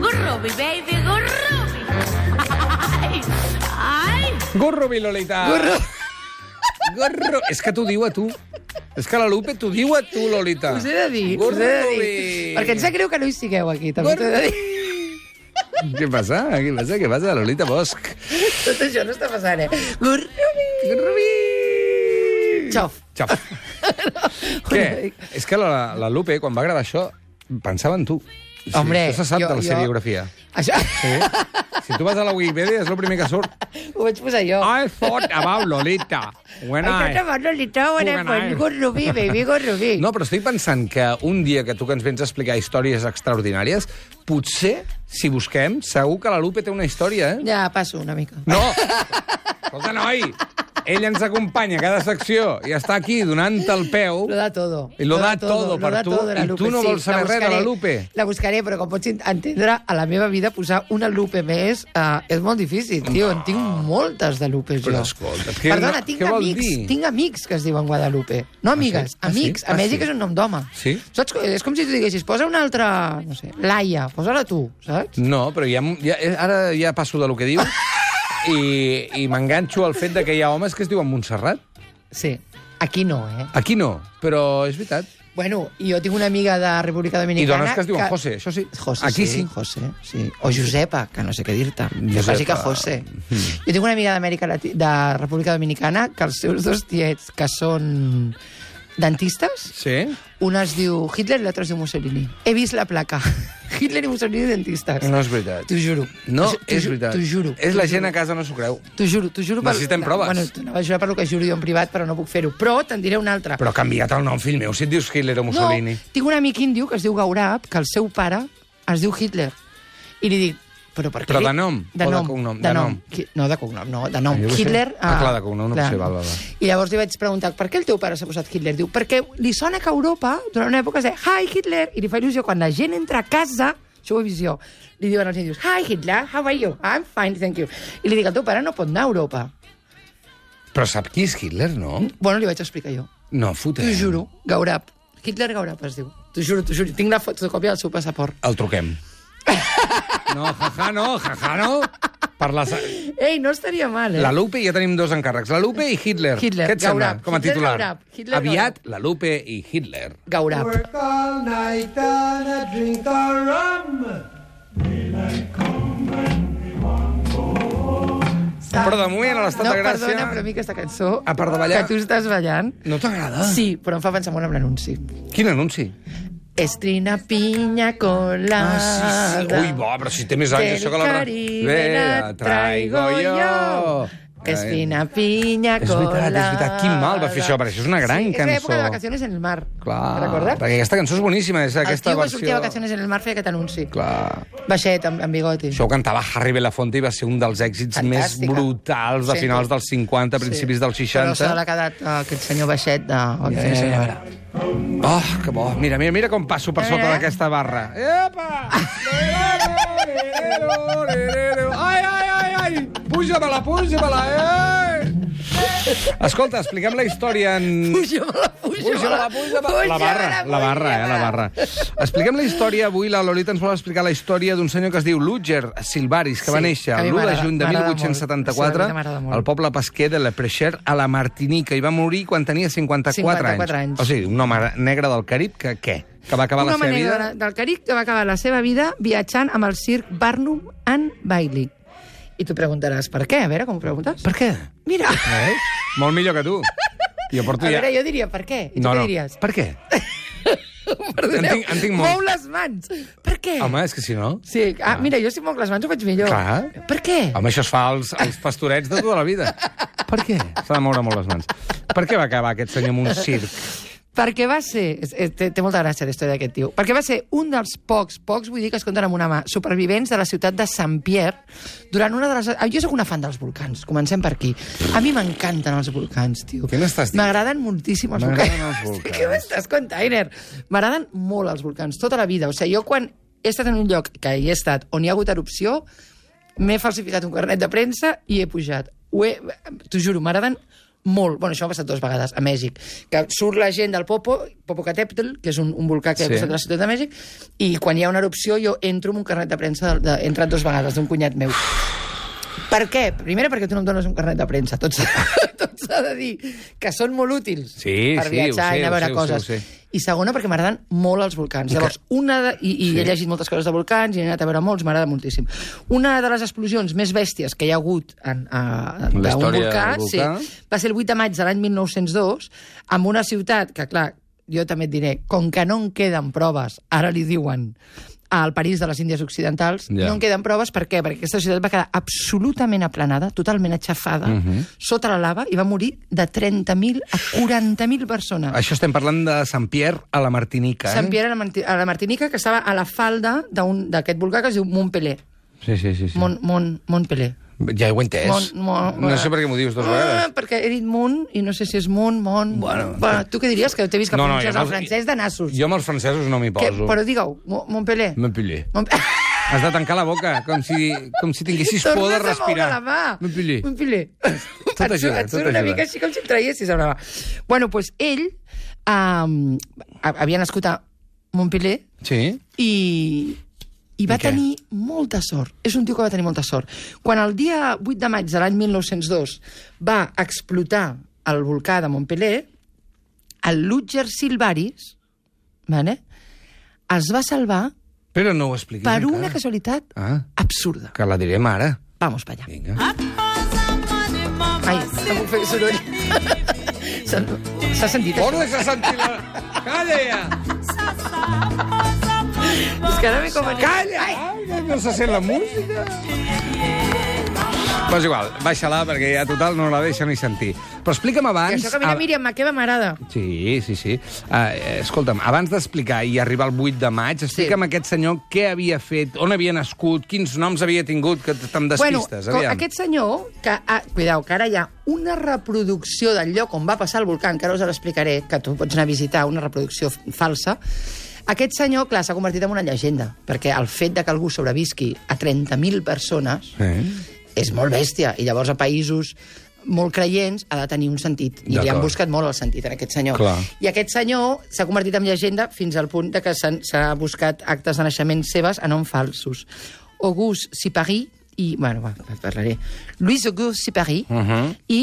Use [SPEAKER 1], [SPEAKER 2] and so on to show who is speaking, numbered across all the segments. [SPEAKER 1] Gurrubi, baby, gurrubi. Ai, ai.
[SPEAKER 2] Gurrubi, Lolita.
[SPEAKER 3] Gurru...
[SPEAKER 2] Gurru... És que t'ho diu a tu. És que la Lupe t'ho diu a tu, Lolita.
[SPEAKER 3] Us he de dir, us he de dir.
[SPEAKER 2] Gurrubi.
[SPEAKER 3] Perquè em sap greu que no hi sigueu aquí, també t'ho he de dir.
[SPEAKER 2] Què passa? Què passa? Què passa, Lolita Bosch?
[SPEAKER 3] Tot això no està passant, eh? Gurrubi!
[SPEAKER 2] Gurrubi.
[SPEAKER 3] Xof.
[SPEAKER 2] Xof. Què? És que la, la Lupe, quan va gravar això, pensava en tu. Sí,
[SPEAKER 3] Hombre,
[SPEAKER 2] això se sap
[SPEAKER 3] jo-
[SPEAKER 2] de la
[SPEAKER 3] jo-
[SPEAKER 2] seriografia.
[SPEAKER 3] Això...
[SPEAKER 2] Sí? Si tu vas a la Wikipedia, és el primer que surt.
[SPEAKER 3] Ho vaig posar jo.
[SPEAKER 2] I thought about Lolita. When
[SPEAKER 3] Ai,
[SPEAKER 2] I-
[SPEAKER 3] no, no, no, li
[SPEAKER 2] Who
[SPEAKER 3] trobo, eh?
[SPEAKER 2] can I?
[SPEAKER 3] Gurrubi, baby, gurrubi.
[SPEAKER 2] No, però estic pensant que un dia que tu que ens vens a explicar històries extraordinàries, potser, si busquem, segur que la Lupe té una història, eh?
[SPEAKER 3] Ja, passo una mica.
[SPEAKER 2] No! Escolta, noi! Ell ens acompanya a cada secció i està aquí donant el peu.
[SPEAKER 3] Lo da todo.
[SPEAKER 2] I lo da todo per
[SPEAKER 3] da
[SPEAKER 2] tu,
[SPEAKER 3] todo de la
[SPEAKER 2] i tu no
[SPEAKER 3] Sí,
[SPEAKER 2] vols saber
[SPEAKER 3] la
[SPEAKER 2] res de la
[SPEAKER 3] buscaré.
[SPEAKER 2] Lupe.
[SPEAKER 3] La buscaré, però com pots entendre, a la meva vida posar una Lupe més uh, és molt difícil, tio. En tinc moltes de Lupes,
[SPEAKER 2] Però
[SPEAKER 3] jo.
[SPEAKER 2] escolta, què-
[SPEAKER 3] Perdona,
[SPEAKER 2] no-
[SPEAKER 3] tinc
[SPEAKER 2] què vol
[SPEAKER 3] amics,
[SPEAKER 2] dir?
[SPEAKER 3] tinc amics que es diuen Guadalupe. No amigues,
[SPEAKER 2] sí? Ah, sí?
[SPEAKER 3] amics.
[SPEAKER 2] Ah,
[SPEAKER 3] A Mèxic
[SPEAKER 2] sí?
[SPEAKER 3] és un nom d'home.
[SPEAKER 2] Sí?
[SPEAKER 3] Saps? És com si tu diguessis, posa una altra, no sé, Laia, posa-la tu, saps?
[SPEAKER 2] No, però ja, ja, eh, ara ja passo de lo que diu i, i m'enganxo al fet de que hi ha homes que es diuen Montserrat.
[SPEAKER 3] Sí. Aquí no, eh?
[SPEAKER 2] Aquí no, però és veritat.
[SPEAKER 3] Bueno, i jo tinc una amiga de República
[SPEAKER 2] I
[SPEAKER 3] Dominicana...
[SPEAKER 2] dones que es diuen José, això sí.
[SPEAKER 3] José,
[SPEAKER 2] Aquí sí.
[SPEAKER 3] sí, José, sí. O Josepa, que no sé què dir-te. Que
[SPEAKER 2] Josepa. Mm.
[SPEAKER 3] faci que José. Jo tinc una amiga d'Amèrica Lati- de República Dominicana que els seus dos tiets, que són dentistes,
[SPEAKER 2] Sí?
[SPEAKER 3] un es diu Hitler i l'altre es diu Mussolini. He vist la placa. Hitler i Mussolini dentistes.
[SPEAKER 2] No és veritat.
[SPEAKER 3] T'ho juro.
[SPEAKER 2] No,
[SPEAKER 3] T'ho ju-
[SPEAKER 2] és veritat.
[SPEAKER 3] T'ho juro.
[SPEAKER 2] És la
[SPEAKER 3] t'ho
[SPEAKER 2] gent
[SPEAKER 3] juro.
[SPEAKER 2] a casa no s'ho creu.
[SPEAKER 3] T'ho juro, t'ho juro.
[SPEAKER 2] Necessitem proves.
[SPEAKER 3] Bueno, t'ho anava a jurar per lo que juro jo en privat, però no puc fer-ho. Però te'n diré una altra.
[SPEAKER 2] Però ha canviat el nom, fill meu, si et dius Hitler o Mussolini.
[SPEAKER 3] No, tinc un amic índio que es diu Gaurab, que el seu pare es diu Hitler. I li dic, però per què?
[SPEAKER 2] Però de nom o
[SPEAKER 3] De
[SPEAKER 2] de
[SPEAKER 3] nom.
[SPEAKER 2] cognom?
[SPEAKER 3] De,
[SPEAKER 2] De
[SPEAKER 3] nom.
[SPEAKER 2] nom.
[SPEAKER 3] Qui- No, de cognom, no, de nom.
[SPEAKER 2] Ah, jo què sé.
[SPEAKER 3] Hitler...
[SPEAKER 2] Ah, clar, de cognom, no
[SPEAKER 3] clar.
[SPEAKER 2] sé, val, val, val.
[SPEAKER 3] I llavors li vaig preguntar, per què el teu pare s'ha posat Hitler? Diu, perquè li sona que a Europa, durant una època, es deia, hi, Hitler, i li fa il·lusió quan la gent entra a casa, això ho he vist jo, li diuen als índios, hi, Hitler, how are you? I'm fine, thank you. I li dic, el teu pare no pot anar a Europa.
[SPEAKER 2] Però sap qui és Hitler, no?
[SPEAKER 3] Bueno, li vaig explicar jo.
[SPEAKER 2] No, fotem.
[SPEAKER 3] Mm? T'ho juro, Gaurab. Hitler Gaurab es diu. T'ho juro, t'ho juro. Tinc la fotocòpia del seu passaport.
[SPEAKER 2] El truquem. No, jaja, no, jaja, no. Per la... sa-
[SPEAKER 3] Ei, no estaria mal, eh?
[SPEAKER 2] La Lupe, ja tenim dos encàrrecs. La Lupe i Hitler.
[SPEAKER 3] Hitler,
[SPEAKER 2] Què et sembla
[SPEAKER 3] Gaurab.
[SPEAKER 2] com a
[SPEAKER 3] Hitler,
[SPEAKER 2] titular?
[SPEAKER 3] Gaurab. Hitler,
[SPEAKER 2] Aviat, la Lupe i Hitler.
[SPEAKER 3] Gaurab.
[SPEAKER 4] Work all night and I drink a rum.
[SPEAKER 2] Però de moment, a l'estat
[SPEAKER 3] No,
[SPEAKER 2] de Gràcia...
[SPEAKER 3] perdona, però a mi aquesta cançó...
[SPEAKER 2] A part de ballar.
[SPEAKER 3] Que tu estàs ballant...
[SPEAKER 2] No t'agrada?
[SPEAKER 3] Sí, però em fa pensar molt en l'anunci.
[SPEAKER 2] Quin anunci?
[SPEAKER 3] Estrina piña colada.
[SPEAKER 2] Ah, Ui, bo, però si té més anys, això que la...
[SPEAKER 3] Ve, la traigo yo. Estrina piña
[SPEAKER 2] És veritat,
[SPEAKER 3] colada.
[SPEAKER 2] és veritat. Quin mal va fer això, perquè això és una gran
[SPEAKER 3] sí, és
[SPEAKER 2] cançó.
[SPEAKER 3] l'època de vacaciones en el mar.
[SPEAKER 2] Clar,
[SPEAKER 3] Te'n recordes?
[SPEAKER 2] perquè aquesta cançó és boníssima, és aquesta
[SPEAKER 3] el tio
[SPEAKER 2] versió...
[SPEAKER 3] que sortia a vacaciones en el mar feia aquest anunci.
[SPEAKER 2] Clar.
[SPEAKER 3] Baixet, amb, amb bigoti.
[SPEAKER 2] Això ho cantava Harry Belafonte i va ser un dels èxits
[SPEAKER 3] Fantàstica.
[SPEAKER 2] més brutals de
[SPEAKER 3] Sí.
[SPEAKER 2] finals dels 50, principis dels 60.
[SPEAKER 3] Però se l'ha quedat eh, aquest senyor baixet de...
[SPEAKER 2] Ja, ja, ja. Eh, Oh, que bo. Mira, mira, mira com passo per sota
[SPEAKER 3] Eh?
[SPEAKER 2] d'aquesta barra. Epa! Ai, ai, ai, ai! Puja-me-la, puja-me-la, eh! Escolta, expliquem la història en...
[SPEAKER 3] Puja-me-la, puja-me-la,
[SPEAKER 2] puja-me-la. La barra, la barra, eh, la barra. Expliquem la història avui. La Lolita ens vol explicar la història d'un senyor que es diu Lutger Silvaris, que
[SPEAKER 3] Sí,
[SPEAKER 2] va néixer
[SPEAKER 3] que a mi
[SPEAKER 2] l'1 de
[SPEAKER 3] m'agrada-
[SPEAKER 2] juny de
[SPEAKER 3] m'agrada
[SPEAKER 2] 1874
[SPEAKER 3] molt. Sí, a mi m'agrada molt.
[SPEAKER 2] al poble pesquer de Le Precher, a la Martinica, i va morir quan tenia 54,
[SPEAKER 3] 54 anys.
[SPEAKER 2] O sigui, un home negre del Carib que què? Que va acabar
[SPEAKER 3] Una
[SPEAKER 2] la seva
[SPEAKER 3] manera
[SPEAKER 2] vida...
[SPEAKER 3] del Caric que va acabar la seva vida viatjant amb el circ Barnum and Bailey. I tu preguntaràs per què? A veure, com ho preguntes?
[SPEAKER 2] Per què?
[SPEAKER 3] Mira,
[SPEAKER 2] Eh? Molt millor que tu. Jo
[SPEAKER 3] a
[SPEAKER 2] porto ja...
[SPEAKER 3] veure, jo diria per què. I tu
[SPEAKER 2] No,
[SPEAKER 3] què
[SPEAKER 2] no.
[SPEAKER 3] diries?
[SPEAKER 2] Per què? en
[SPEAKER 3] Perdoneu,
[SPEAKER 2] tinc- en tinc molt.
[SPEAKER 3] Mou les mans. Per què?
[SPEAKER 2] Home, és que si no...
[SPEAKER 3] Sí, ah, mira, jo si moc les mans ho faig millor.
[SPEAKER 2] Clar.
[SPEAKER 3] Per què?
[SPEAKER 2] Home, això es fa als, als pastorets de tota la vida. Per què? S'ha de moure molt les mans. Per què va acabar aquest senyor amb un circ?
[SPEAKER 3] Perquè va ser... és- és- Té, té molta gràcia la història d'aquest tio. Perquè va ser un dels pocs, pocs, vull dir que es compten amb una mà, supervivents de la ciutat de Sant Pierre durant una de les... Ah, Jo sóc una fan dels volcans, comencem per aquí. A mi m'encanten els volcans, tio.
[SPEAKER 2] Què m'estàs dient?
[SPEAKER 3] M'agraden moltíssim els volcans.
[SPEAKER 2] M'agraden els volcans.
[SPEAKER 3] Què m'estàs container? M'agraden molt els volcans, tota la vida. O sigui, jo quan he estat en un lloc que hi he estat on hi ha hagut erupció, m'he falsificat un carnet de premsa i he pujat. Ho he... T'ho juro, m'agraden molt. Bueno, això ha passat dues vegades, a Mèxic. Que surt la gent del Popo, Popocatépetl, que és un, un volcà que sí.
[SPEAKER 2] Sí.
[SPEAKER 3] ha costat de la ciutat de Mèxic, i quan hi ha una erupció jo entro amb un carnet de premsa, de, de, he entrat dues vegades, d'un cunyat meu. Per què? Primer, perquè tu no em dones un carnet de premsa. Tot s'ha tot s'ha de dir que són molt útils
[SPEAKER 2] Sí,
[SPEAKER 3] per
[SPEAKER 2] sí, ho
[SPEAKER 3] viatjar
[SPEAKER 2] sé,
[SPEAKER 3] i anar
[SPEAKER 2] ho
[SPEAKER 3] a veure
[SPEAKER 2] sé, ho sé,
[SPEAKER 3] coses.
[SPEAKER 2] ho sé.
[SPEAKER 3] I segona, perquè m'agraden molt els volcans. Llavors, una de, i, i he llegit moltes coses de volcans, i he anat a veure molts, m'agrada moltíssim. Una de les explosions més bèsties que hi ha hagut en, a,
[SPEAKER 2] En la
[SPEAKER 3] d'un
[SPEAKER 2] història
[SPEAKER 3] volcà,
[SPEAKER 2] del volcà.
[SPEAKER 3] Sí, va ser el 8 de maig de l'any 1902, amb una ciutat que, clar, jo també et diré, com que no en queden proves, ara li diuen al París de les Índies Occidentals,
[SPEAKER 2] Ja.
[SPEAKER 3] ja. no en queden proves, per què? Perquè aquesta ciutat va quedar absolutament aplanada, totalment aixafada, uh -huh.
[SPEAKER 2] Mhm.
[SPEAKER 3] sota la lava, i va morir de 30.000 a 40.000 persones.
[SPEAKER 2] Això estem parlant de Sant Pierre a la Martinica, eh?
[SPEAKER 3] Sant Pierre a la, Marti- a la Martinica, que estava a la falda d'un- d'aquest volcà que es diu Montpellier.
[SPEAKER 2] Sí, sí, sí. sí.
[SPEAKER 3] Mont, Mont, Montpellier.
[SPEAKER 2] Ja ho he entès. no sé per què m'ho dius dues vegades.
[SPEAKER 3] Ah, perquè he dit Mont i no sé si és Mont, Mont...
[SPEAKER 2] Bueno.
[SPEAKER 3] Va, tu què diries? Que t'he vist que no, no,
[SPEAKER 2] jo
[SPEAKER 3] el
[SPEAKER 2] amb els-
[SPEAKER 3] francès de nassos.
[SPEAKER 2] Jo amb els francesos no m'hi
[SPEAKER 3] Ah! que,
[SPEAKER 2] poso.
[SPEAKER 3] però digue-ho, Mo- Montpellier.
[SPEAKER 2] Montpellier.
[SPEAKER 3] Mont...
[SPEAKER 2] Has de tancar la boca, com si, com si tinguessis por de
[SPEAKER 3] Tornes a moure
[SPEAKER 2] respirar.
[SPEAKER 3] la mà. Mm.
[SPEAKER 2] Montpellier.
[SPEAKER 3] Montpellier.
[SPEAKER 2] Tot
[SPEAKER 3] et,
[SPEAKER 2] ajuda,
[SPEAKER 3] surt- et
[SPEAKER 2] tot
[SPEAKER 3] surt una
[SPEAKER 2] ajuda.
[SPEAKER 3] mica així com si et traiessis a la mà. Bueno, doncs pues ell um, havia nascut a Montpellier,
[SPEAKER 2] Sí?
[SPEAKER 3] i, i va
[SPEAKER 2] I què?
[SPEAKER 3] tenir molta sort. És un tio que va tenir molta sort. Quan el dia 8 de maig de l'any 1902 va explotar el volcà de Montpellier, el Lutger Silvaris vale, es va salvar
[SPEAKER 2] Però no ho expliquis
[SPEAKER 3] per
[SPEAKER 2] encara.
[SPEAKER 3] una casualitat
[SPEAKER 2] Ah,
[SPEAKER 3] absurda.
[SPEAKER 2] que la direm ara.
[SPEAKER 3] Vamos pa allà.
[SPEAKER 2] Vinga.
[SPEAKER 3] Ai, no puc fer soroll. S'ha s'ha sentit eh? això?
[SPEAKER 2] On s'ha sentit la... Calla ja!
[SPEAKER 3] És que ara m'he com...
[SPEAKER 2] Calla! Ai, no se sent la música. Però és igual, baixa-la, perquè ja total no la deixa ni sentir. Però explica'm
[SPEAKER 3] I
[SPEAKER 2] abans...
[SPEAKER 3] això que mira,
[SPEAKER 2] a-
[SPEAKER 3] Míriam, Makeba m'agrada.
[SPEAKER 2] Sí, sí, sí. Uh, escolta'm, abans d'explicar i arribar al 8 de maig, explica'm sí. aquest senyor què havia fet, on havia nascut, quins noms havia tingut, que te'n despistes,
[SPEAKER 3] co-
[SPEAKER 2] aviam.
[SPEAKER 3] aquest senyor, que, ah, cuidao, que ara hi ha una reproducció del lloc on va passar el volcà, encara us l'explicaré, que tu pots anar a visitar una reproducció f- falsa, aquest senyor, clar, s'ha convertit en una llegenda, perquè el fet de que algú sobrevisqui a 30.000 persones
[SPEAKER 2] Eh?
[SPEAKER 3] és molt bèstia, i llavors a països molt creients ha de tenir un sentit, i li han
[SPEAKER 2] D'acord.
[SPEAKER 3] buscat molt el sentit en aquest senyor.
[SPEAKER 2] Clar.
[SPEAKER 3] I aquest senyor s'ha convertit en llegenda fins al punt de que s'han- s'ha buscat actes de naixement seves a nom falsos. Auguste Sipari i... Bueno, va, en parlaré. Louis Auguste Sipari uh
[SPEAKER 2] Mhm.
[SPEAKER 3] -huh. i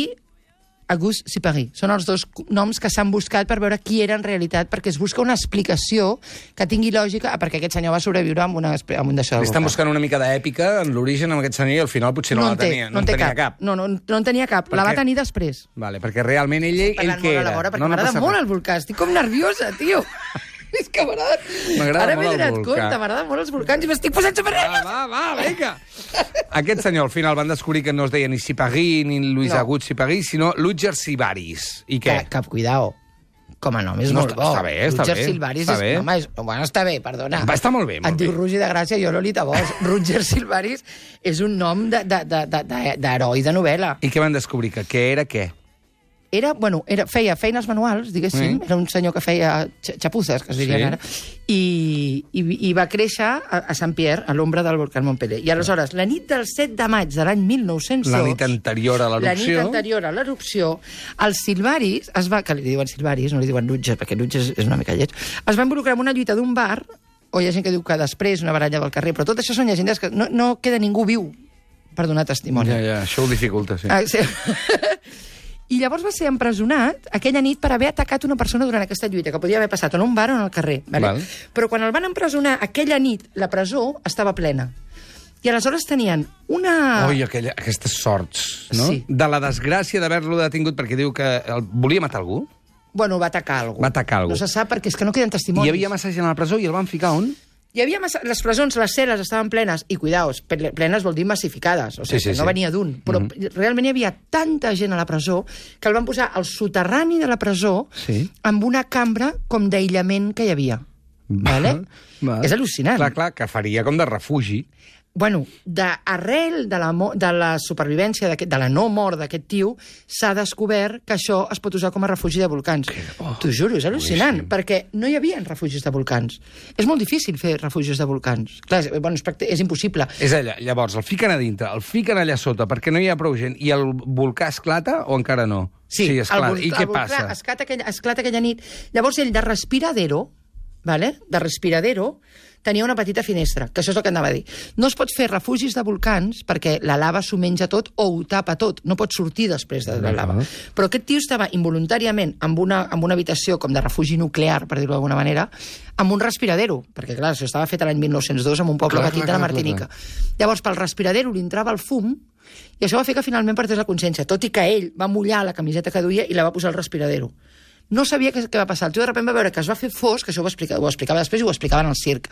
[SPEAKER 3] Auguste Sipari. Són els dos cu- noms que s'han buscat per veure qui era en realitat, perquè es busca una explicació que tingui lògica, ah, perquè aquest senyor va sobreviure amb, una, espe- amb un d'això. del
[SPEAKER 2] Estan
[SPEAKER 3] volcà.
[SPEAKER 2] buscant una mica d'èpica en l'origen amb aquest senyor i al final potser no, la
[SPEAKER 3] en té,
[SPEAKER 2] tenia, no, en
[SPEAKER 3] té
[SPEAKER 2] tenia cap.
[SPEAKER 3] No, no, no en tenia cap.
[SPEAKER 2] Per
[SPEAKER 3] la va
[SPEAKER 2] què?
[SPEAKER 3] tenir després.
[SPEAKER 2] Vale, perquè realment ell, ell
[SPEAKER 3] Parlant
[SPEAKER 2] què
[SPEAKER 3] molt a
[SPEAKER 2] era?
[SPEAKER 3] la vora, perquè
[SPEAKER 2] No,
[SPEAKER 3] no,
[SPEAKER 2] no
[SPEAKER 3] m'agrada
[SPEAKER 2] passa
[SPEAKER 3] molt
[SPEAKER 2] res.
[SPEAKER 3] el volcà. Estic com nerviosa, tio. És que m'agrada...
[SPEAKER 2] M'agrada
[SPEAKER 3] Ara
[SPEAKER 2] molt el
[SPEAKER 3] donat
[SPEAKER 2] volcà. Ah,
[SPEAKER 3] compte, m'agrada molt els volcans i m'estic posant super
[SPEAKER 2] Va,
[SPEAKER 3] nerviosa.
[SPEAKER 2] va, va, vinga! Aquest senyor, al final, van descobrir que no es deia ni Sipagí ni Luis
[SPEAKER 3] No.
[SPEAKER 2] no. Agut Sipagí, sinó Lutger Sibaris. I què?
[SPEAKER 3] Que, que, cuidao. Com a nom és
[SPEAKER 2] No,
[SPEAKER 3] molt
[SPEAKER 2] està-
[SPEAKER 3] bo.
[SPEAKER 2] està bé, està
[SPEAKER 3] Roger
[SPEAKER 2] bé,
[SPEAKER 3] Silvaris
[SPEAKER 2] està
[SPEAKER 3] és...
[SPEAKER 2] bé.
[SPEAKER 3] Home, és... Bueno, està bé, perdona.
[SPEAKER 2] Va, està molt bé, molt
[SPEAKER 3] Et diu
[SPEAKER 2] bé.
[SPEAKER 3] Roger de Gràcia, jo Lolita Bosch. Roger Silvaris és un nom de- de- de- de- de- d'heroi de, de novel·la.
[SPEAKER 2] I què van descobrir? Que què era què?
[SPEAKER 3] era, bueno, era, feia feines manuals, diguéssim,
[SPEAKER 2] Mm.
[SPEAKER 3] mm. era un senyor que feia xa- xapuzes, que es dirien
[SPEAKER 2] Sí.
[SPEAKER 3] sí. ara, i, i, i va créixer a, a Sant Pierre, a l'ombra del volcà Montpellier. I aleshores, la nit del 7 de maig de l'any 1902...
[SPEAKER 2] La nit anterior a
[SPEAKER 3] La nit
[SPEAKER 2] l'erupció.
[SPEAKER 3] anterior a l'erupció, els Silvaris, es va, que li diuen Silvaris, no li diuen Lutges, perquè Lutges és una mica lleig, es va involucrar en una lluita d'un bar, o hi ha gent que diu que després una baralla del carrer, però tot això són llegendes que no, no queda ningú viu per donar testimoni.
[SPEAKER 2] Ja, ja, això ho dificulta, sí.
[SPEAKER 3] Ah, sí. I llavors va ser empresonat aquella nit per haver atacat una persona durant aquesta lluita, que podia haver passat en un bar o en el carrer. Vale?
[SPEAKER 2] Val.
[SPEAKER 3] Però quan el van empresonar aquella nit, la presó estava plena. I aleshores tenien una...
[SPEAKER 2] Oi, aquella, aquestes sorts, no?
[SPEAKER 3] Sí.
[SPEAKER 2] De la desgràcia d'haver-lo detingut perquè diu que el, volia matar algú.
[SPEAKER 3] Bueno, va atacar algú.
[SPEAKER 2] Va atacar algú.
[SPEAKER 3] No se sap perquè és que no queden
[SPEAKER 2] Hi
[SPEAKER 3] testimonis.
[SPEAKER 2] havia massa gent a la presó i el van ficar on?
[SPEAKER 3] Hi havia massa... Les presons, les cel·les estaven plenes, i cuidaos, ple- plenes vol dir massificades, o sigui,
[SPEAKER 2] Sí, sí,
[SPEAKER 3] que no
[SPEAKER 2] sí. Mhm.
[SPEAKER 3] venia d'un, però mm -hmm. realment hi havia tanta gent a la presó que el van posar al soterrani de la presó
[SPEAKER 2] Sí.
[SPEAKER 3] amb una cambra com d'aïllament que hi havia. Vale?
[SPEAKER 2] Val.
[SPEAKER 3] És al·lucinant.
[SPEAKER 2] Clar, clar, que faria com de refugi.
[SPEAKER 3] Bueno, d'arrel de, la mo- de la supervivència, d'aquest- de la no mort d'aquest tio, s'ha descobert que això es pot usar com a refugi de volcans. T'ho juro, és al·lucinant, perquè no hi havia refugis de volcans. És molt difícil fer refugis de volcans. Clar, és, bueno, és, practi- és impossible.
[SPEAKER 2] És allà, llavors, el fiquen a dintre, el fiquen allà sota, perquè no hi ha prou gent, i el volcà esclata o encara no? sí esclata.
[SPEAKER 3] vol-
[SPEAKER 2] I què
[SPEAKER 3] el volcà
[SPEAKER 2] passa?
[SPEAKER 3] Esclata aquella, esclata aquella nit. Llavors ell de respiradero, vale? de respiradero, tenia una petita finestra, que això és el que anava a dir. No es pot fer refugis de volcans perquè la lava s'ho menja tot o ho tapa tot. No pot sortir després de la lava. Però aquest tio estava involuntàriament amb una, amb una habitació com de refugi nuclear, per dir-ho d'alguna manera, amb un respiradero, perquè clar, això estava fet a l'any 1902 en un poble
[SPEAKER 2] Clar,
[SPEAKER 3] petit
[SPEAKER 2] clar,
[SPEAKER 3] de la
[SPEAKER 2] clar, clar,
[SPEAKER 3] Martinica.
[SPEAKER 2] clar.
[SPEAKER 3] Llavors, pel respiradero li entrava el fum i això va fer que finalment perdés la consciència, tot i que ell va mullar la camiseta que duia i la va posar al respiradero. No sabia què, què va passar. El tio de sobte va veure que es va fer fosc, això ho, explica, ho explicava després i ho explicava en el circ,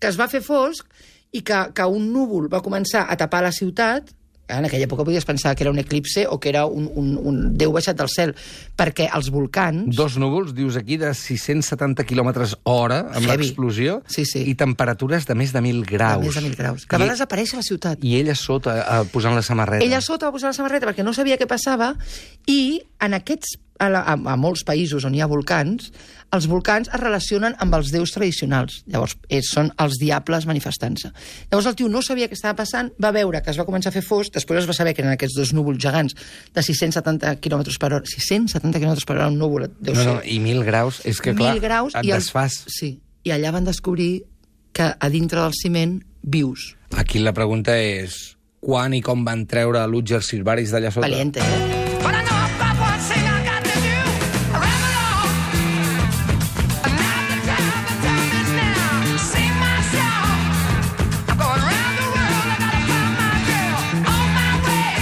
[SPEAKER 3] que es va fer fosc i que, que un núvol va començar a tapar la ciutat eh, en aquella època podies pensar que era un eclipse o que era un, un, un déu baixat del cel, perquè els volcans...
[SPEAKER 2] Dos núvols, dius aquí, de 670 km hora amb
[SPEAKER 3] Heavy.
[SPEAKER 2] l'explosió
[SPEAKER 3] Sí, sí.
[SPEAKER 2] i temperatures de més de 1.000 graus.
[SPEAKER 3] De més de mil graus. Que
[SPEAKER 2] I,
[SPEAKER 3] va desaparèixer la ciutat.
[SPEAKER 2] I ella sota, eh, posant la samarreta.
[SPEAKER 3] Ella sota va posar la samarreta perquè no sabia què passava i en aquests a, la, a, a molts països on hi ha volcans, els volcans es relacionen amb els déus tradicionals. Llavors, és, són els diables manifestant-se. Llavors, el tio no sabia què estava passant, va veure que es va començar a fer fosc, després es va saber que eren aquests dos núvols gegants de 670 km per hora. 670 km per hora un núvol, deu
[SPEAKER 2] No,
[SPEAKER 3] ser
[SPEAKER 2] no, i 1.000 graus, és que clar,
[SPEAKER 3] mil graus
[SPEAKER 2] et
[SPEAKER 3] i
[SPEAKER 2] desfas.
[SPEAKER 3] Sí, i allà van descobrir que a dintre del ciment vius.
[SPEAKER 2] Aquí la pregunta és quan i com van treure l'Utger Silvaris d'allà sota?
[SPEAKER 3] Valiente, eh?
[SPEAKER 5] But I know about one thing I got to do. I ramble on. And now the time, the time is now. Sing my song. I'm going round the world. I gotta find my girl on my way.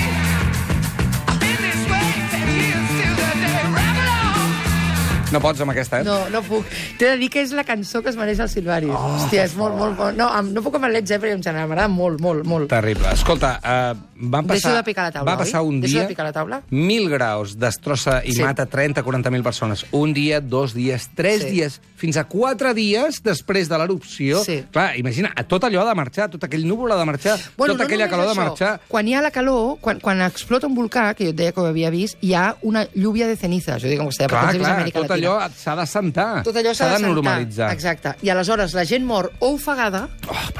[SPEAKER 5] I've been this way ten years till the day. Ramble on.
[SPEAKER 2] No pots amb aquesta, eh?
[SPEAKER 3] No, no puc. T'he de dir que és la cançó que es mereix el Silvaris. Oh, Hòstia, és molt, molt bon. No, amb, no puc amb el Led Zeppelin en general, m'agrada molt, molt, molt.
[SPEAKER 2] Terrible. Escolta, uh, van
[SPEAKER 3] Deixo
[SPEAKER 2] passar,
[SPEAKER 3] de picar la taula,
[SPEAKER 2] va passar
[SPEAKER 3] oi?
[SPEAKER 2] un
[SPEAKER 3] Deixo
[SPEAKER 2] dia...
[SPEAKER 3] de picar la taula?
[SPEAKER 2] 1.000 graus, destrossa i
[SPEAKER 3] Sí.
[SPEAKER 2] sí. mata 30-40.000 persones. Un dia, dos dies, tres
[SPEAKER 3] Sí.
[SPEAKER 2] sí. dies, fins a quatre dies després de l'erupció.
[SPEAKER 3] Sí.
[SPEAKER 2] Clar, imagina, a tot allò ha de marxar, tot aquell núvol ha de marxar, tota aquella
[SPEAKER 3] només
[SPEAKER 2] calor ha de
[SPEAKER 3] això.
[SPEAKER 2] marxar...
[SPEAKER 3] Quan hi ha la calor, quan, quan explota un volcà, que jo et deia que ho havia vist, hi ha una lluvia de cenizas. Jo dic, com que
[SPEAKER 2] Clar,
[SPEAKER 3] s'ha
[SPEAKER 2] clar,
[SPEAKER 3] Amèrica
[SPEAKER 2] tot
[SPEAKER 3] Latina.
[SPEAKER 2] allò s'ha de sentar.
[SPEAKER 3] Tot allò s'ha de
[SPEAKER 2] Ah, de
[SPEAKER 3] sentar.
[SPEAKER 2] normalitzar.
[SPEAKER 3] Exacte. I aleshores la gent mor o ofegada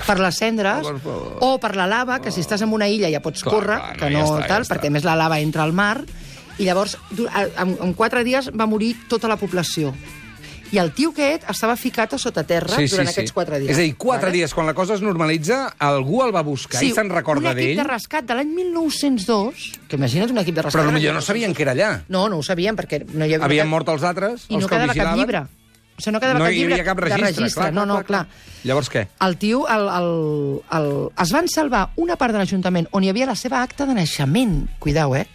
[SPEAKER 3] per les cendres
[SPEAKER 2] per favor.
[SPEAKER 3] o per la lava, que si estàs en una illa ja pots
[SPEAKER 2] Clar,
[SPEAKER 3] córrer,
[SPEAKER 2] clar, no, ja
[SPEAKER 3] que no
[SPEAKER 2] està, ja
[SPEAKER 3] tal,
[SPEAKER 2] està.
[SPEAKER 3] perquè a més la lava entra al mar, i llavors du- a- en, en quatre dies va morir tota la població. I el tio aquest estava ficat a sota terra durant aquests quatre dies.
[SPEAKER 2] És a dir, quatre
[SPEAKER 3] vale?
[SPEAKER 2] dies, quan la cosa es normalitza, algú el va buscar i se'n recorda
[SPEAKER 3] Un equip
[SPEAKER 2] d'ell,
[SPEAKER 3] de rescat de l'any 1902, que imagina't un equip de rescat...
[SPEAKER 2] però
[SPEAKER 3] de l'any
[SPEAKER 2] potser no sabien que era allà.
[SPEAKER 3] No, no ho sabien, perquè no hi havia...
[SPEAKER 2] Havien mort els altres,
[SPEAKER 3] I
[SPEAKER 2] els
[SPEAKER 3] no
[SPEAKER 2] que
[SPEAKER 3] quedava cap
[SPEAKER 2] vigilaven.
[SPEAKER 3] llibre. O sigui, no quedava
[SPEAKER 2] no
[SPEAKER 3] cap
[SPEAKER 2] hi
[SPEAKER 3] llibre
[SPEAKER 2] havia cap
[SPEAKER 3] de
[SPEAKER 2] registre.
[SPEAKER 3] registre. no, no, clar.
[SPEAKER 2] Llavors què?
[SPEAKER 3] El tio, el, el, el, es van salvar una part de l'Ajuntament on hi havia la seva acta de naixement. Cuidao, eh?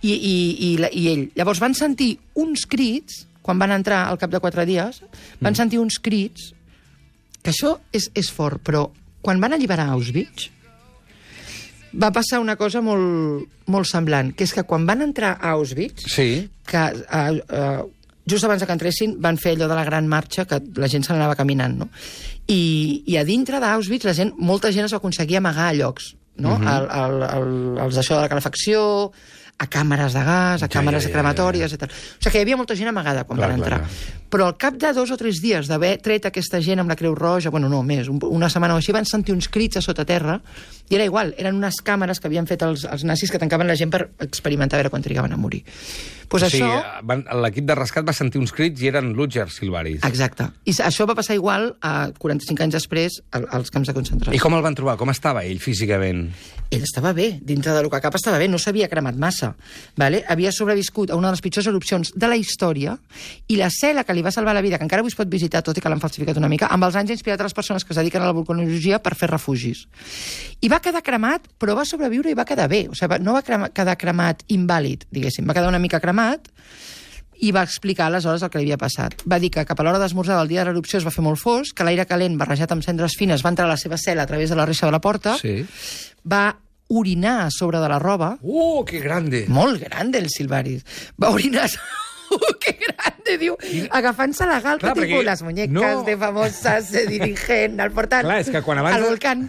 [SPEAKER 3] I, i, i, la, I ell. Llavors van sentir uns crits, quan van entrar al cap de quatre dies, van sentir uns crits, que això és, és fort, però quan van alliberar Auschwitz, va passar una cosa molt, molt semblant, que és que quan van entrar a Auschwitz,
[SPEAKER 2] Sí.
[SPEAKER 3] que eh, eh, just abans de que entressin van fer allò de la gran marxa que la gent se n'anava caminant, no? I, i a dintre d'Auschwitz la gent, molta gent es va aconseguir amagar a llocs, no?
[SPEAKER 2] Mhm.
[SPEAKER 3] Mm -hmm. el, el, el, els d'això de la calefacció, a càmeres de gas, a càmeres
[SPEAKER 2] ja, ja,
[SPEAKER 3] crematòries, etc. O sigui que hi havia molta gent amagada quan
[SPEAKER 2] Clar,
[SPEAKER 3] van
[SPEAKER 2] clar,
[SPEAKER 3] entrar.
[SPEAKER 2] clar.
[SPEAKER 3] Però al cap de dos o tres dies d'haver tret aquesta gent amb la Creu Roja, bueno, no, més, un, una setmana o així, van sentir uns crits a sota terra, i era igual, eren unes càmeres que havien fet els, els nazis que tancaven la gent per experimentar a veure quan trigaven a morir. Pues
[SPEAKER 2] o sigui, eh,
[SPEAKER 3] això...
[SPEAKER 2] van- l'equip de rescat va sentir uns crits i eren Lutger Silvaris.
[SPEAKER 3] Exacte. I s- això va passar igual a 45 anys després al- als camps de
[SPEAKER 2] I
[SPEAKER 3] concentració.
[SPEAKER 2] com el van trobar? Com estava ell físicament?
[SPEAKER 3] Ell estava bé, dintre del que cap estava bé, no s'havia cremat massa. Vale? Havia sobreviscut a una de les pitjors erupcions de la història i la cel·la que li va salvar la vida, que encara avui es pot visitar, tot i que l'han falsificat una mica, amb els anys ha inspirat a les persones que es dediquen a la vulcanologia per fer refugis. I va quedar cremat, però va sobreviure i va quedar bé. O sigui, va- no va crema, quedar cremat invàlid, diguéssim. Va quedar una mica cremat, i va explicar aleshores el que li havia passat. Va dir que cap a l'hora d'esmorzar del dia de l'erupció es va fer molt fosc, que l'aire calent barrejat amb cendres fines va entrar a la seva cel·la a través de la reixa de la porta, va orinar a sobre de la roba,
[SPEAKER 2] Uh, que grande!
[SPEAKER 3] molt gran del Silvaris, va orinar a so- que grande, diu. Agafant-se la
[SPEAKER 2] Clar,
[SPEAKER 3] galta, Clar, tipus,
[SPEAKER 2] perquè-
[SPEAKER 3] les muñecas
[SPEAKER 2] no.
[SPEAKER 3] de famoses se dirigen al portal.
[SPEAKER 2] Clar, és que quan abans...
[SPEAKER 3] Al volcán.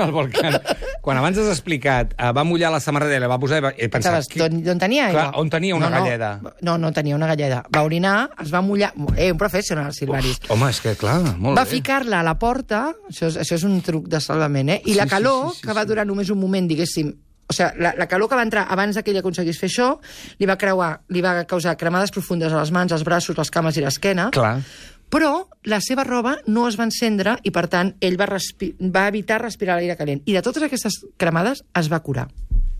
[SPEAKER 2] Al volcán. Quan abans has explicat, eh, va mullar la samarreta i la va posar... i va- He pensat...
[SPEAKER 3] Pensaves,
[SPEAKER 2] qui-
[SPEAKER 3] d'on d'on tenia aigua?
[SPEAKER 2] Clar, on tenia una
[SPEAKER 3] no,
[SPEAKER 2] galleda.
[SPEAKER 3] No, no, no tenia una galleda. Va orinar, es va mullar... Eh, un professional, Silvaris.
[SPEAKER 2] Uf, home, és que clar, molt
[SPEAKER 3] va
[SPEAKER 2] bé.
[SPEAKER 3] ficar-la a la porta, això és, això és un truc de salvament, eh? I
[SPEAKER 2] Sí,
[SPEAKER 3] la
[SPEAKER 2] sí,
[SPEAKER 3] calor,
[SPEAKER 2] sí, sí,
[SPEAKER 3] que va
[SPEAKER 2] sí.
[SPEAKER 3] durar només un moment, diguéssim, o sigui, la, la calor que va entrar abans de que ell aconseguís fer això, li va creuar, li va causar cremades profundes a les mans, als braços, les cames i l'esquena.
[SPEAKER 2] Clar.
[SPEAKER 3] Però la seva roba no es va encendre i, per tant, ell va, respi va evitar respirar l'aire calent. I de totes aquestes cremades es va curar.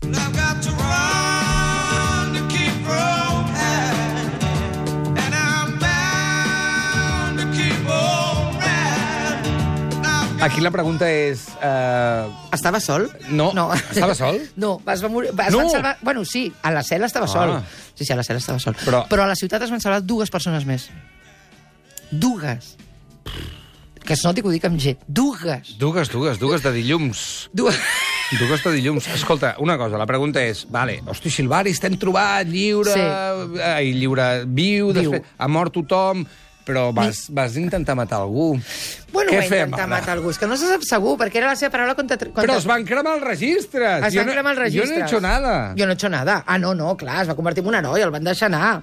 [SPEAKER 5] I've got to run to keep from hiding, and I'm bound to keep on riding. I've got
[SPEAKER 2] Aquí la pregunta és... Eh,
[SPEAKER 3] Estava sol?
[SPEAKER 2] No. Estava sol?
[SPEAKER 3] No, es va morir, es
[SPEAKER 2] No.
[SPEAKER 3] van salvar... Bueno, sí, a la cel·la estava
[SPEAKER 2] Ah.
[SPEAKER 3] sol. Sí, sí, a la cel·la estava sol.
[SPEAKER 2] Però-
[SPEAKER 3] Però a la ciutat es van salvar dues persones més. Dugues. Que es noti que ho dic amb G. Dugues.
[SPEAKER 2] dugues, dugues, dugues de dilluns.
[SPEAKER 3] Dugues.
[SPEAKER 2] Dugues de dilluns. Escolta, una cosa, la pregunta és... Vale, hosti, Silvaris, t'hem trobat lliure...
[SPEAKER 3] Sí.
[SPEAKER 2] Ai, lliure, viu,
[SPEAKER 3] Viu.
[SPEAKER 2] després... Ha mort tothom, però vas, vas intentar matar algú.
[SPEAKER 3] Bueno,
[SPEAKER 2] Què
[SPEAKER 3] va
[SPEAKER 2] fem,
[SPEAKER 3] intentar
[SPEAKER 2] ara?
[SPEAKER 3] matar algú. És que no se sap segur, perquè era la seva paraula contra... contra...
[SPEAKER 2] Però es van cremar els registres.
[SPEAKER 3] Es
[SPEAKER 2] Jo
[SPEAKER 3] van
[SPEAKER 2] no-
[SPEAKER 3] cremar els registres.
[SPEAKER 2] Jo no he hecho nada.
[SPEAKER 3] Jo no he hecho nada. Ah, no, no, clar, es va convertir en un heroi, el van deixar anar.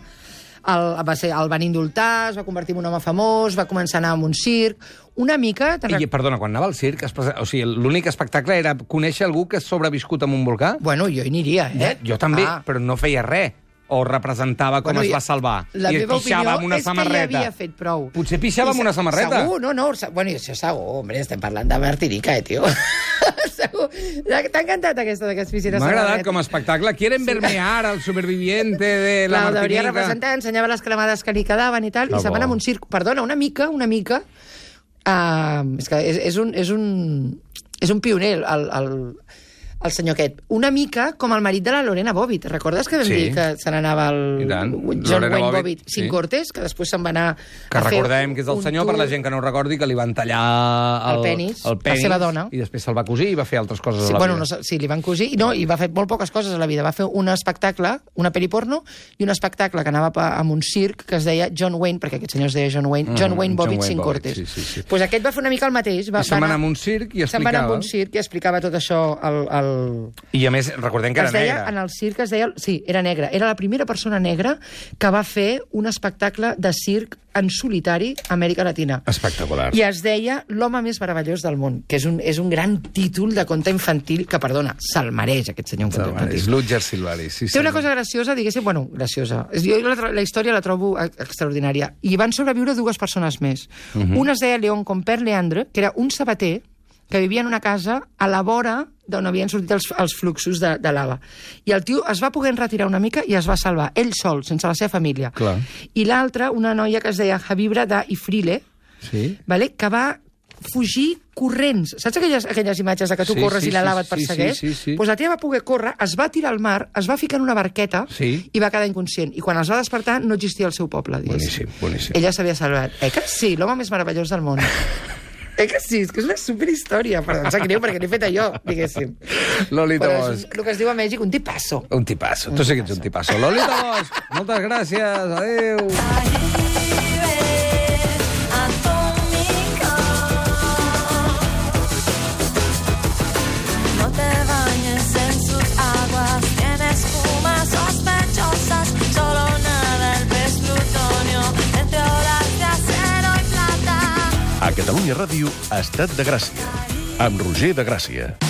[SPEAKER 3] El, va ser, el van indultar, es va convertir en un home famós, va començar a anar a un circ... Una mica... te'n
[SPEAKER 2] I, perdona, quan anava al circ, es presa... o sigui, l'únic espectacle era conèixer algú que ha sobreviscut amb un volcà?
[SPEAKER 3] Bueno, jo hi aniria, eh?
[SPEAKER 2] Jo també,
[SPEAKER 3] Ah.
[SPEAKER 2] però no feia res. O representava com
[SPEAKER 3] Bueno,
[SPEAKER 2] es va
[SPEAKER 3] i-
[SPEAKER 2] salvar.
[SPEAKER 3] La
[SPEAKER 2] I pixava
[SPEAKER 3] meva opinió
[SPEAKER 2] amb una
[SPEAKER 3] és
[SPEAKER 2] samarreta.
[SPEAKER 3] que ja havia fet prou.
[SPEAKER 2] Potser pixava
[SPEAKER 3] I
[SPEAKER 2] amb
[SPEAKER 3] se-
[SPEAKER 2] una samarreta.
[SPEAKER 3] Segur, no, no. se- Bueno, i això segur, hombre, estem parlant de Martinica, eh, tio. segur. T'ha encantat aquesta d'aquestes piscines.
[SPEAKER 2] M'ha agradat com a espectacle. Quieren verme ara, el superviviente de la
[SPEAKER 3] La devia
[SPEAKER 2] Martinica.
[SPEAKER 3] representar, ensenyava les cremades que li quedaven i tal,
[SPEAKER 2] Que
[SPEAKER 3] i se'n
[SPEAKER 2] bo.
[SPEAKER 3] van amb un circ. Perdona, una mica, una mica... Uh, és que és, és, un, és, un, és un pioner, el, el, el, el senyor aquest. Una mica com el marit de la Lorena Bobbitt. Recordes que vam
[SPEAKER 2] Sí.
[SPEAKER 3] dir que se n'anava el
[SPEAKER 2] I tant.
[SPEAKER 3] John
[SPEAKER 2] Lorena
[SPEAKER 3] Wayne
[SPEAKER 2] Bobbitt,
[SPEAKER 3] Bobbitt
[SPEAKER 2] sí.
[SPEAKER 3] sin cortes, que després se'n va anar
[SPEAKER 2] Que
[SPEAKER 3] a fer
[SPEAKER 2] recordem que és el
[SPEAKER 3] un
[SPEAKER 2] senyor, per
[SPEAKER 3] tour.
[SPEAKER 2] la gent que no ho recordi, que li van tallar el,
[SPEAKER 3] El penis,
[SPEAKER 2] el
[SPEAKER 3] la
[SPEAKER 2] penis
[SPEAKER 3] seva dona.
[SPEAKER 2] I després se'l va cosir i va fer altres coses
[SPEAKER 3] Sí,
[SPEAKER 2] a la
[SPEAKER 3] bueno, no,
[SPEAKER 2] vida.
[SPEAKER 3] sé- sí, li van cosir. i No, I va fer molt poques coses a la vida. Va fer un espectacle, una peli porno, i un espectacle que anava pa- amb un circ que es deia John Wayne, perquè aquest senyor es deia John Wayne, John
[SPEAKER 2] Mm,
[SPEAKER 3] Wayne
[SPEAKER 2] John
[SPEAKER 3] Bobbitt
[SPEAKER 2] Wayne
[SPEAKER 3] sin
[SPEAKER 2] Bobbitt,
[SPEAKER 3] cortes.
[SPEAKER 2] sí, sí, sí.
[SPEAKER 3] Pues aquest va fer una mica el mateix. Va,
[SPEAKER 2] I se'n va anar amb un circ i
[SPEAKER 3] Se'n va
[SPEAKER 2] explicava.
[SPEAKER 3] anar amb un circ i explicava tot això al... al...
[SPEAKER 2] I a més, recordem que
[SPEAKER 3] Es
[SPEAKER 2] era
[SPEAKER 3] deia,
[SPEAKER 2] negre.
[SPEAKER 3] en el circ es deia... Sí, era negre. Era la primera persona negra que va fer un espectacle de circ en solitari a Amèrica Latina.
[SPEAKER 2] Espectacular.
[SPEAKER 3] I es deia L'home més meravellós del món, que és un, és un gran títol de conte infantil que, perdona, se'l mereix aquest senyor un conte infantil.
[SPEAKER 2] És l'Utger Silvari. Sí,
[SPEAKER 3] Té una
[SPEAKER 2] senyor.
[SPEAKER 3] cosa graciosa, diguéssim, bueno, graciosa. És- Jo la, tro- la història la trobo e- extraordinària. I van sobreviure dues persones més. Uh -huh. Una es deia Leon Comper Leandre, que era un sabater que vivia en una casa a la vora d'on havien sortit els, els fluxos de, de lava. I el tio es va poder retirar una mica i es va salvar, ell sol, sense la seva família.
[SPEAKER 2] Clar.
[SPEAKER 3] I l'altra, una noia que es deia Javibra de Ifrile,
[SPEAKER 2] Sí.
[SPEAKER 3] vale? que va fugir corrents. Saps aquelles, aquelles imatges de que tu
[SPEAKER 2] Sí,
[SPEAKER 3] corres
[SPEAKER 2] sí,
[SPEAKER 3] i la
[SPEAKER 2] sí,
[SPEAKER 3] lava
[SPEAKER 2] sí,
[SPEAKER 3] et persegueix?
[SPEAKER 2] sí, sí, sí.
[SPEAKER 3] Pues la tia va poder córrer, es va tirar al mar, es va ficar en una barqueta
[SPEAKER 2] Sí.
[SPEAKER 3] i va quedar inconscient. I quan es va despertar no existia el seu poble, diguéssim.
[SPEAKER 2] Boníssim, boníssim.
[SPEAKER 3] Ella s'havia salvat. Eh que sí, l'home més meravellós del món. eh que sí, és que és una superhistòria. Però em sap greu perquè l'he fet allò, diguéssim.
[SPEAKER 2] Lolita
[SPEAKER 3] Però és
[SPEAKER 2] Bosch.
[SPEAKER 3] el que es diu a Mèxic un tipasso.
[SPEAKER 2] Un tipasso. Tu sí que ets un tipasso. Lolita Bosch, moltes gràcies. Adéu.
[SPEAKER 6] No te bañes en sus aguas, tiene espumas sospechosas, solo nada el pez plutonio, entre horas de acero y plata.
[SPEAKER 7] A Catalunya Ràdio, Estat de Gràcia, amb Roger de Gràcia.